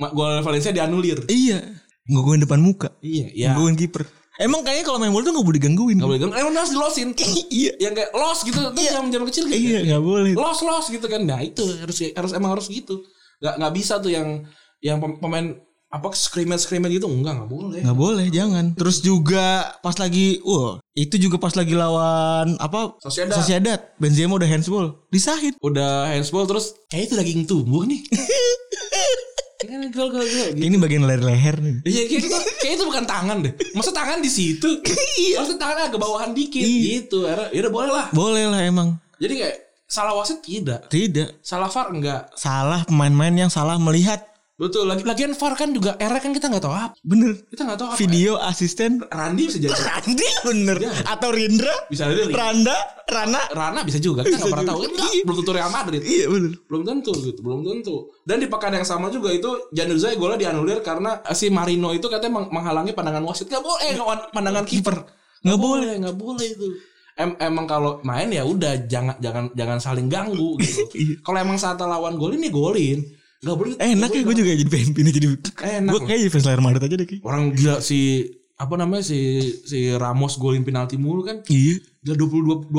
Speaker 2: Ma- Gol Valencia dianulir.
Speaker 3: Iya. Gangguin depan muka.
Speaker 2: Iya, ya.
Speaker 3: Gangguin kiper. Emang kayaknya kalau main bola tuh gak boleh digangguin.
Speaker 2: Enggak boleh gol. Eh, harus dilosin.
Speaker 3: Iya.
Speaker 2: Yang kayak los gitu tuh jam-jam kecil gitu.
Speaker 3: Iya, gak boleh.
Speaker 2: los los gitu kan nah itu harus harus emang harus gitu nggak nggak bisa tuh yang yang pem- pemain apa scrimmage scrimmage gitu enggak nggak boleh
Speaker 3: Nggak boleh, jangan. Terus juga pas lagi, wah itu juga pas lagi lawan apa?
Speaker 2: Sociedad.
Speaker 3: Benzema udah handsball, disahin.
Speaker 2: udah handball terus kayak itu daging tumbuh nih kan gol gol gol gitu.
Speaker 3: Ini bagian leher-leher nih.
Speaker 2: Iya kayak itu, kayak itu bukan tangan deh. Masa tangan di situ? Iya. Masa tangan agak bawahan dikit gitu. Akhirnya, Ya udah boleh lah.
Speaker 3: Boleh lah emang.
Speaker 2: Jadi kayak salah wasit tidak,
Speaker 3: Tidak.
Speaker 2: salah VAR enggak.
Speaker 3: Salah pemain-pemain yang salah melihat.
Speaker 2: Betul. Lagi lagian VAR kan juga era kan kita nggak tahu apa.
Speaker 3: Bener.
Speaker 2: Kita nggak tahu apa.
Speaker 3: Video asisten
Speaker 2: Randi bisa jadi
Speaker 3: Randi bener atau Rindra
Speaker 2: Bisa aja.
Speaker 3: Randa Rana
Speaker 2: Rana bisa juga kita nggak pernah tahu Enggak,
Speaker 3: juga. Iya.
Speaker 2: belum tentu Real Madrid
Speaker 3: iya bener
Speaker 2: belum tentu gitu belum tentu dan di pekan yang sama juga itu Januzaj golnya dianulir karena eh, si Marino itu katanya meng- menghalangi pandangan wasit nggak boleh eh, nggak- pandangan kiper
Speaker 3: nggak boleh
Speaker 2: nggak boleh itu Em- emang kalau main ya udah jangan jangan jangan saling ganggu gitu
Speaker 3: Iya.
Speaker 2: kalau emang saat lawan golin ya golin nggak boleh
Speaker 3: enak ya gue juga jadi pengen pindah jadi
Speaker 2: Enak
Speaker 3: gue
Speaker 2: loh.
Speaker 3: kayak jadi fans Real Madrid aja deh kayak.
Speaker 2: orang gila si apa namanya si si Ramos golin penalti mulu kan
Speaker 3: iya
Speaker 2: Gila 22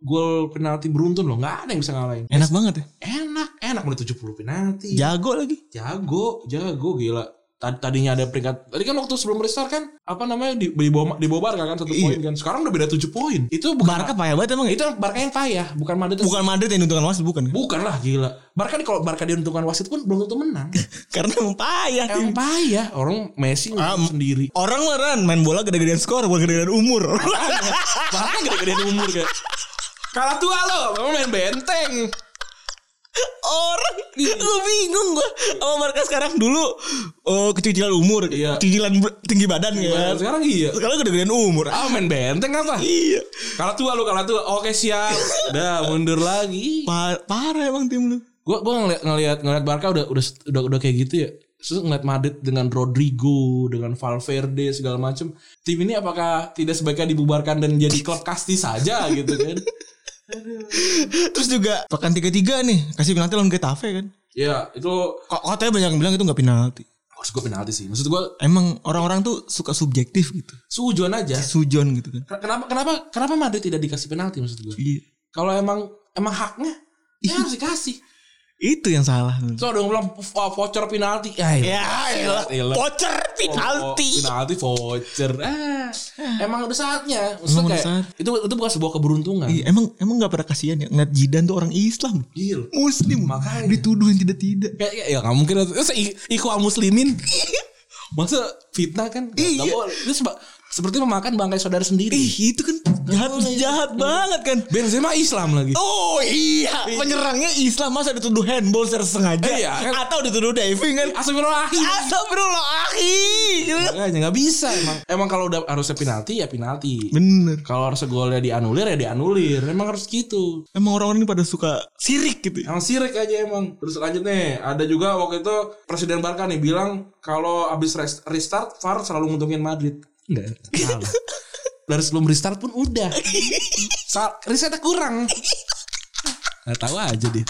Speaker 2: 22 gol penalti beruntun loh nggak ada yang bisa ngalahin
Speaker 3: enak banget
Speaker 2: Iya.
Speaker 3: ya
Speaker 2: enak enak menit 70 penalti
Speaker 3: jago lagi
Speaker 2: jago jago gila Tad- tadinya ada peringkat tadi kan waktu sebelum restart kan apa namanya di di bawah di bawah Barca kan satu poin kan sekarang udah beda 7 poin itu bukan
Speaker 3: Barca payah banget emang ya.
Speaker 2: itu Barca yang payah bukan Madrid yang-
Speaker 3: bukan Madrid yang diuntungkan wasit bukan kan?
Speaker 2: bukan lah gila Barca di- kalau Barca diuntungkan wasit pun belum tentu menang
Speaker 3: karena emang payah tim.
Speaker 2: emang payah orang Messi
Speaker 3: Ah,
Speaker 2: ngelawan sendiri
Speaker 3: orang lah Ran main bola gede-gedean skor bukan gede-gedean umur
Speaker 2: Barca gede-gedean umur kayak kalah tua lo kamu main benteng
Speaker 3: orang
Speaker 2: Iya.
Speaker 3: gue bingung gue sama Barca sekarang dulu oh kecil-kecilan umur
Speaker 2: Iya.
Speaker 3: kecil-kecilan ber- tinggi badan ya
Speaker 2: sekarang iya
Speaker 3: sekarang gede-gedean umur
Speaker 2: ah main benteng apa
Speaker 3: iya
Speaker 2: kalah tua lo kalah tua oke siap udah mundur lagi
Speaker 3: Pa- parah emang tim lu
Speaker 2: gua gua ngeliat ngeliat ngeliat Barca udah udah udah udah kayak gitu ya terus ngeliat Madrid dengan Rodrigo dengan Valverde segala macem tim ini apakah tidak sebaiknya dibubarkan dan jadi klub kasti saja gitu kan
Speaker 3: Terus juga pekan 33 nih kasih penalti lawan Getafe kan.
Speaker 2: ya itu
Speaker 3: Kok katanya banyak yang bilang itu nggak penalti.
Speaker 2: harus gue penalti sih maksud gua
Speaker 3: Emang orang-orang tuh suka subjektif gitu.
Speaker 2: sujon aja
Speaker 3: Sujon gitu kan.
Speaker 2: Ken- kenapa kenapa kenapa Madrid tidak dikasih penalti maksud gua
Speaker 3: Iya.
Speaker 2: kalau emang emang haknya ya harus dikasih
Speaker 3: Itu yang salah.
Speaker 2: so ada yang bilang "Wah, voucher penalti ya, ya.
Speaker 3: elah.
Speaker 2: elah.
Speaker 3: Voucher
Speaker 2: Oh, penalti voucher. Ah, emang udah saatnya. Maksudnya
Speaker 3: Emang udah
Speaker 2: kayak itu itu bukan sebuah keberuntungan.
Speaker 3: Iya, emang emang nggak pada kasihan ya ngeliat Jidan tuh orang Islam.
Speaker 2: Gil.
Speaker 3: Muslim
Speaker 2: Makanya.
Speaker 3: dituduh yang tidak-tidak.
Speaker 2: Kayak kayak- ya nggak mungkin lah. Masa i- ikhwan muslimin. Masa fitnah kan? Nggak- nggak
Speaker 3: Iya.
Speaker 2: boleh. Itu seba- seperti memakan bangkai saudara sendiri.
Speaker 3: Ih, itu kan jahat jahat banget kan.
Speaker 2: Benzema Islam lagi.
Speaker 3: Oh iya, penyerangnya Islam masa dituduh handball secara sengaja
Speaker 2: Iya, kan.
Speaker 3: atau dituduh diving kan?
Speaker 2: Astagfirullahaladzim.
Speaker 3: Astagfirullahaladzim.
Speaker 2: Makanya nggak bisa emang. Emang kalau udah harusnya penalti ya penalti.
Speaker 3: Bener.
Speaker 2: Kalau harusnya golnya dianulir ya dianulir. Emang harus gitu.
Speaker 3: Emang orang-orang ini pada suka sirik gitu. ya.
Speaker 2: Emang sirik aja emang. Terus lanjut nih, ada juga waktu itu Presiden Barca nih bilang kalau abis res- restart VAR selalu nguntungin Madrid. Enggak. Salah. Dari sebelum restart pun udah. Sa- Resetnya kurang. Gak tahu aja dia.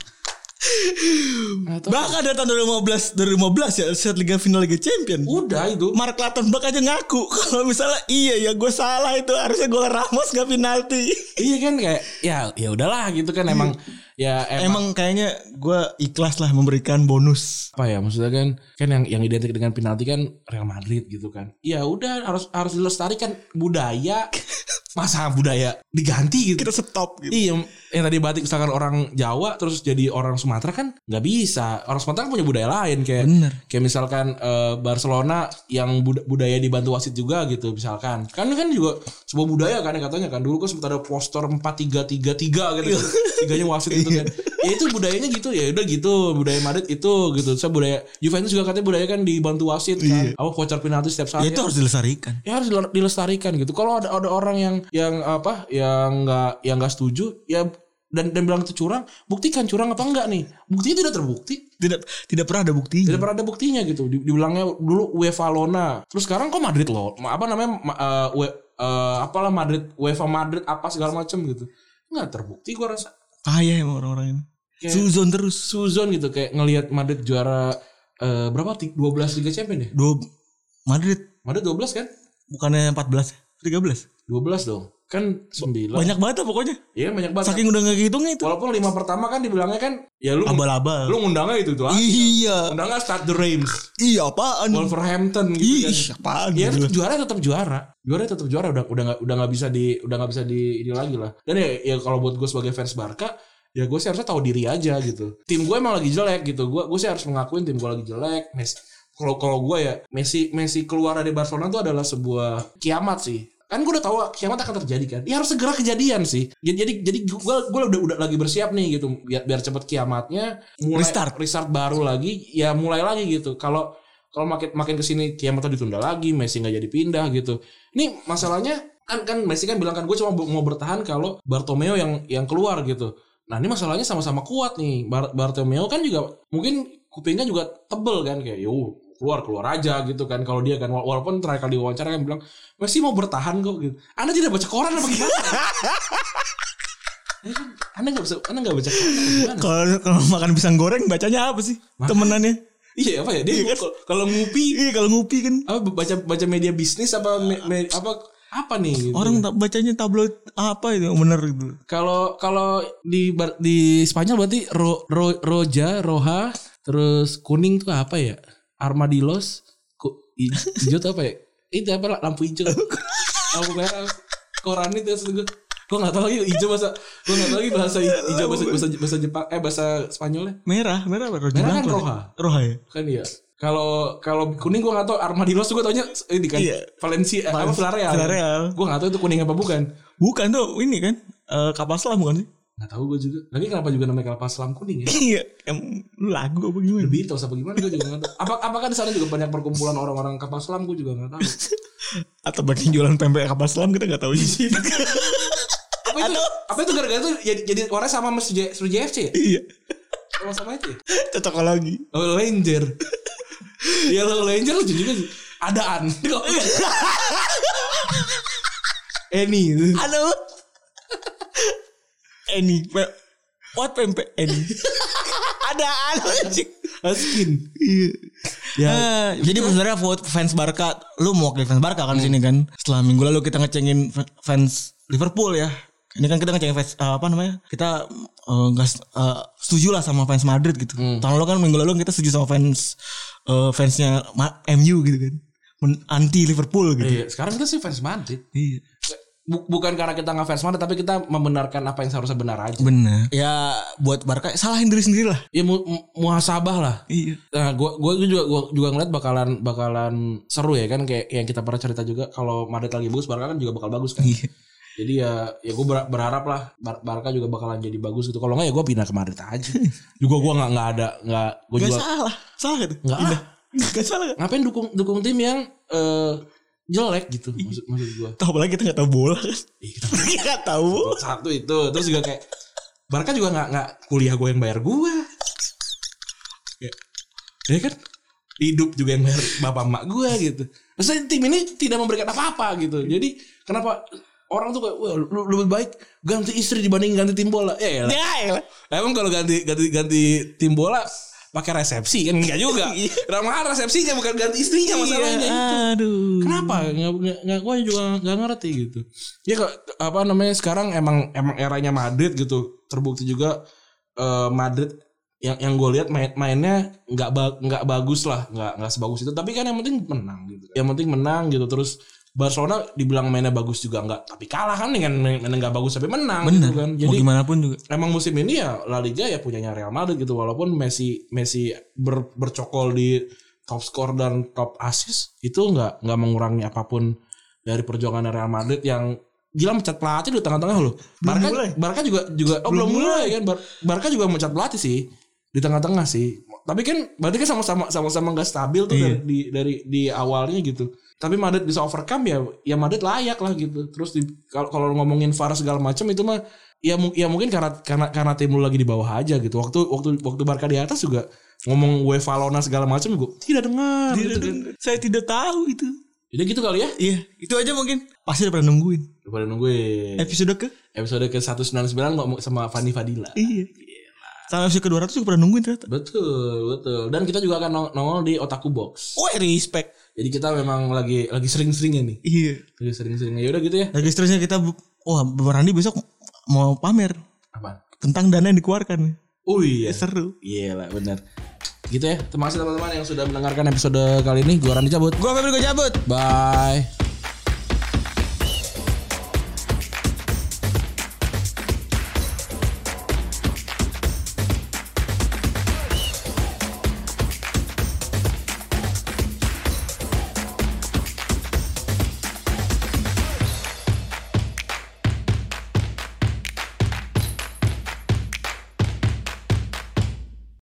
Speaker 2: Nggak tahu.
Speaker 3: Bahkan dari tahun 2015, 2015 ya saat Liga Final Liga Champion.
Speaker 2: Udah itu.
Speaker 3: Mark Latenbach aja ngaku kalau misalnya iya ya gue salah itu harusnya gol Ramos gak penalti.
Speaker 2: Iya kan kayak ya ya udahlah gitu kan emang ya emang,
Speaker 3: Emang kayaknya gue ikhlas lah memberikan bonus.
Speaker 2: apa ya maksudnya kan kan yang yang identik dengan penalti kan Real Madrid gitu kan. Ya udah harus harus dilestarikan budaya masa budaya diganti gitu.
Speaker 3: Kita stop gitu.
Speaker 2: Iya, yang tadi batik misalkan orang Jawa terus jadi orang Sumatera kan nggak bisa. Orang Sumatera kan punya budaya lain kayak
Speaker 3: Bener.
Speaker 2: kayak misalkan eh, Barcelona yang bud- budaya dibantu wasit juga gitu misalkan. Kan kan juga sebuah budaya kan katanya kan dulu kan sempat ada poster 4333
Speaker 3: Iya.
Speaker 2: gitu. kan. Tiganya wasit gitu kan. Ya itu budayanya gitu ya udah gitu budaya Madrid itu gitu. Saya budaya Juventus juga katanya budaya kan dibantu wasit kan. Apa voucher penalti setiap saat. kan.
Speaker 3: Iya. Ya itu harus dilestarikan.
Speaker 2: ya harus dile- dilestarikan gitu. Kalau ada ada orang yang yang apa yang nggak yang nggak setuju ya dan dan bilang itu curang, buktikan curang apa enggak nih? Buktinya tidak terbukti,
Speaker 3: Tidak tidak pernah ada buktinya.
Speaker 2: tidak pernah ada buktinya gitu. Di- Dibilangnya dulu UEFA Lona, terus sekarang kok Madrid loh. Ma- Apa namanya ma- eh, we- eh, apalah Madrid, UEFA Madrid apa segala macam gitu. Enggak terbukti gua rasa.
Speaker 3: Payah emang orang-orang ini.
Speaker 2: Kayak-
Speaker 3: Suzon terus.
Speaker 2: Suzon gitu kayak ngelihat Madrid juara eh, berapa? Ti- 12 Liga Champions ya?
Speaker 3: Dua Madrid
Speaker 2: Madrid 12 kan?
Speaker 3: bukannya 14, 13.
Speaker 2: 12 dong. Kan 9.
Speaker 3: Banyak banget lah pokoknya.
Speaker 2: Iya, banyak banget.
Speaker 3: Saking udah gak kehitungnya itu.
Speaker 2: Walaupun lima pertama kan dibilangnya kan ya lu
Speaker 3: Abal-abal.
Speaker 2: lu ngundangnya itu tuh.
Speaker 3: Iya.
Speaker 2: Ngundangnya Start the Reims,
Speaker 3: Iya apaan?
Speaker 2: Wolverhampton gitu
Speaker 3: Ih,
Speaker 2: kan.
Speaker 3: apaan?
Speaker 2: Ya
Speaker 3: gila.
Speaker 2: tetap juara tetap juara. Juara tetap juara udah udah nggak udah nggak bisa di udah nggak bisa di ini lagi lah. Dan ya, ya kalau buat gue sebagai fans Barca ya gue sih harusnya tahu diri aja gitu. Tim gue emang lagi jelek gitu. Gue gue sih harus mengakuin tim gue lagi jelek. Messi kalau kalau gue ya Messi Messi keluar dari Barcelona itu adalah sebuah kiamat sih. Kan gue udah tahu kiamat akan terjadi kan. Ya harus segera kejadian sih. Jadi jadi, jadi gue gue udah udah lagi bersiap nih gitu biar biar cepet kiamatnya mulai
Speaker 3: Restart.
Speaker 2: baru lagi ya mulai lagi gitu. Kalau kalau makin makin kesini kiamatnya ditunda lagi Messi nggak jadi pindah gitu ini masalahnya kan kan Messi kan bilang kan gue cuma bu- mau bertahan kalau Bartomeu yang yang keluar gitu nah ini masalahnya sama-sama kuat nih Bar- Bartomeu kan juga mungkin kupingnya juga tebel kan kayak yo keluar keluar aja gitu kan kalau dia kan Wala- walaupun terakhir kali diwawancara kan bilang Messi mau bertahan kok gitu Anda tidak baca koran apa gimana Anda nggak bisa Anda nggak baca koran apa gimana
Speaker 3: Kalau kalau makan pisang goreng bacanya apa sih? Temenannya.
Speaker 2: iya apa ya dia kalau- kalau ngupi
Speaker 3: Iya kalau ngupi kan
Speaker 2: apa baca baca media bisnis apa me- me- apa apa nih gitu.
Speaker 3: orang tak bacanya tabloid apa itu yang bener gitu.
Speaker 2: kalau kalau di Bar- di Spanyol berarti ro, Ro- roja roha terus kuning tuh apa ya armadillos ku, i- hijau tuh apa ya itu apa lah, lampu hijau lampu merah koran itu maksud gue gue nggak tahu lagi hijau bahasa gue nggak tahu lagi bahasa hijau bahasa bahasa bahasa Jepang eh bahasa Spanyolnya
Speaker 3: Merah, merah apa? Roja
Speaker 2: Merah kan
Speaker 3: Blanco.
Speaker 2: roha.
Speaker 3: Roha ya.
Speaker 2: kan ya kalau kalau kuning gue nggak tahu armadillos tuh gue taunya ini kan
Speaker 3: Iya.
Speaker 2: Valencia eh, apa
Speaker 3: Valen-
Speaker 2: Villarreal
Speaker 3: Villarreal.
Speaker 2: gue nggak tahu itu kuning apa bukan
Speaker 3: Bukan tuh ini kan Eh kapal selam bukan sih?
Speaker 2: Gak tahu gue juga. Lagi kenapa juga namanya kelapa selam kuning ya?
Speaker 3: Iya, em, lagu apa
Speaker 2: The
Speaker 3: gimana?
Speaker 2: Beatles apa gimana gue juga gak tahu. Apa apakah di sana juga banyak perkumpulan orang-orang kapal selam gue juga gak tahu.
Speaker 3: Atau bagian jualan pempek kapal selam kita nggak tahu sih.
Speaker 2: Apa itu? Apa itu gara-gara itu jadi, jadi orangnya sama Mas J- Sru JFC ya?
Speaker 3: iya,
Speaker 2: Sama sama itu ya?
Speaker 3: cocok lagi.
Speaker 2: Low Ranger. ya Low Ranger lucu juga sih. Adaan. Eni.
Speaker 3: Halo. Eni, pe- what pempek Eni? Ada anu, anjing.
Speaker 2: Askin.
Speaker 3: Iya.
Speaker 2: Ya.
Speaker 3: Eh, jadi sebenarnya vote fans Barca, lu mau wakil fans Barca kan di sini kan? Setelah minggu lalu kita ngecengin fa- fans Liverpool ya. Ini kan kita ngecengin fans eh, apa namanya? Kita eh, nggak s- eh, setuju lah sama fans Madrid gitu. Tahun lalu kan minggu lalu kita setuju sama fans eh, fansnya Ma- MU gitu kan. Men- anti Liverpool gitu.
Speaker 2: Iya, sekarang kita sih fans Madrid.
Speaker 3: Iya.
Speaker 2: Bu- bukan karena kita nggak fans Madrid, tapi kita membenarkan apa yang seharusnya benar aja.
Speaker 3: Benar. Ya buat Barca salahin diri sendiri lah.
Speaker 2: Ya mu- mu- muhasabah lah.
Speaker 3: Iya.
Speaker 2: Nah, gua gua juga gua juga ngeliat bakalan bakalan seru ya kan kayak yang kita pernah cerita juga kalau Madrid lagi bagus Barca kan juga bakal bagus kan.
Speaker 3: Iya.
Speaker 2: Jadi ya ya gue berharap lah Bar- Barca juga bakalan jadi bagus gitu. Kalau nggak ya gue pindah ke Madrid aja. juga gue nggak nggak ada nggak gue
Speaker 3: Gak
Speaker 2: juga
Speaker 3: salah. Salah gitu.
Speaker 2: nggak ah,
Speaker 3: Gak salah. kan?
Speaker 2: ngapain dukung dukung tim yang eh, jelek gitu
Speaker 3: Iya.
Speaker 2: maksud maksud gue.
Speaker 3: Tahu apalagi kita nggak tahu bola kan? Kita nggak tahu.
Speaker 2: Satu itu terus juga kayak Barca juga nggak nggak kuliah gue yang bayar gue. Ya, ya kan hidup juga yang bayar bapak emak gue gitu. Maksudnya tim ini tidak memberikan apa-apa gitu. Jadi kenapa orang tuh kayak Wah, lu, lebih baik ganti istri dibanding ganti tim bola. Ya elah.
Speaker 3: Ya elah.
Speaker 2: Emang kalau ganti ganti ganti tim bola pakai resepsi kan enggak juga. Ramah resepsinya bukan ganti istrinya masalahnya. gitu.
Speaker 3: Aduh.
Speaker 2: Kenapa? Nggak, nggak, nggak gue juga nggak ngerti gitu. Ya kok apa namanya sekarang emang emang eranya Madrid gitu. Terbukti juga eh, Madrid yang yang gue lihat main mainnya nggak ba- nggak bagus lah nggak nggak sebagus itu tapi kan yang penting menang gitu yang penting menang gitu terus Barcelona dibilang mainnya bagus juga nggak tapi kalah kan dengan main- mainnya nggak bagus tapi menang gitu
Speaker 3: Bener.
Speaker 2: kan
Speaker 3: Mau gimana pun juga.
Speaker 2: emang musim ini ya La Liga ya punyanya Real Madrid gitu walaupun Messi Messi ber- bercokol di top skor dan top assist itu nggak nggak mengurangi apapun dari perjuangan Real Madrid yang gila mencat pelatih di tengah-tengah loh. Barca
Speaker 3: mulai.
Speaker 2: Barca juga juga oh belum, mulai kan Bar- Barca juga mencat pelatih sih di tengah-tengah sih. Tapi kan berarti kan sama-sama sama-sama nggak stabil tuh dari,
Speaker 3: Iya.
Speaker 2: di dari di awalnya gitu. Tapi Madrid bisa overcome ya ya Madrid layak lah gitu. Terus di- kalau kalau ngomongin VAR segala macam itu mah ya mu- ya mungkin karena karena karena tim lu lagi di bawah aja gitu. Waktu waktu waktu Barca di atas juga ngomong UEFA Lona segala macam gue tidak dengar gitu kan.
Speaker 3: Saya tidak tahu itu.
Speaker 2: Jadi gitu kali ya.
Speaker 3: Iya, itu aja mungkin. Pasti udah pernah nungguin.
Speaker 2: Daripada nungguin.
Speaker 3: Episode ke?
Speaker 2: episode ke 199 ngomong sama Fani Fadila.
Speaker 3: Iya. Sama episode ke 200 juga pernah nungguin ternyata.
Speaker 2: Betul, betul. Dan kita juga akan nong- nongol di Otaku Box.
Speaker 3: Woi, respect.
Speaker 2: Jadi kita memang lagi lagi sering-seringnya nih.
Speaker 3: Iya.
Speaker 2: Lagi sering-seringnya. Yaudah gitu ya.
Speaker 3: Lagi seterusnya kita bu- wah, Bang Randi besok mau pamer
Speaker 2: Apaan?
Speaker 3: tentang dana yang dikeluarkan.
Speaker 2: Oh iya.
Speaker 3: Seru.
Speaker 2: Iya lah, benar. Gitu ya. Terima kasih teman-teman yang sudah mendengarkan episode kali ini. Gua Randy cabut.
Speaker 3: Gua Febri gua cabut.
Speaker 2: Bye.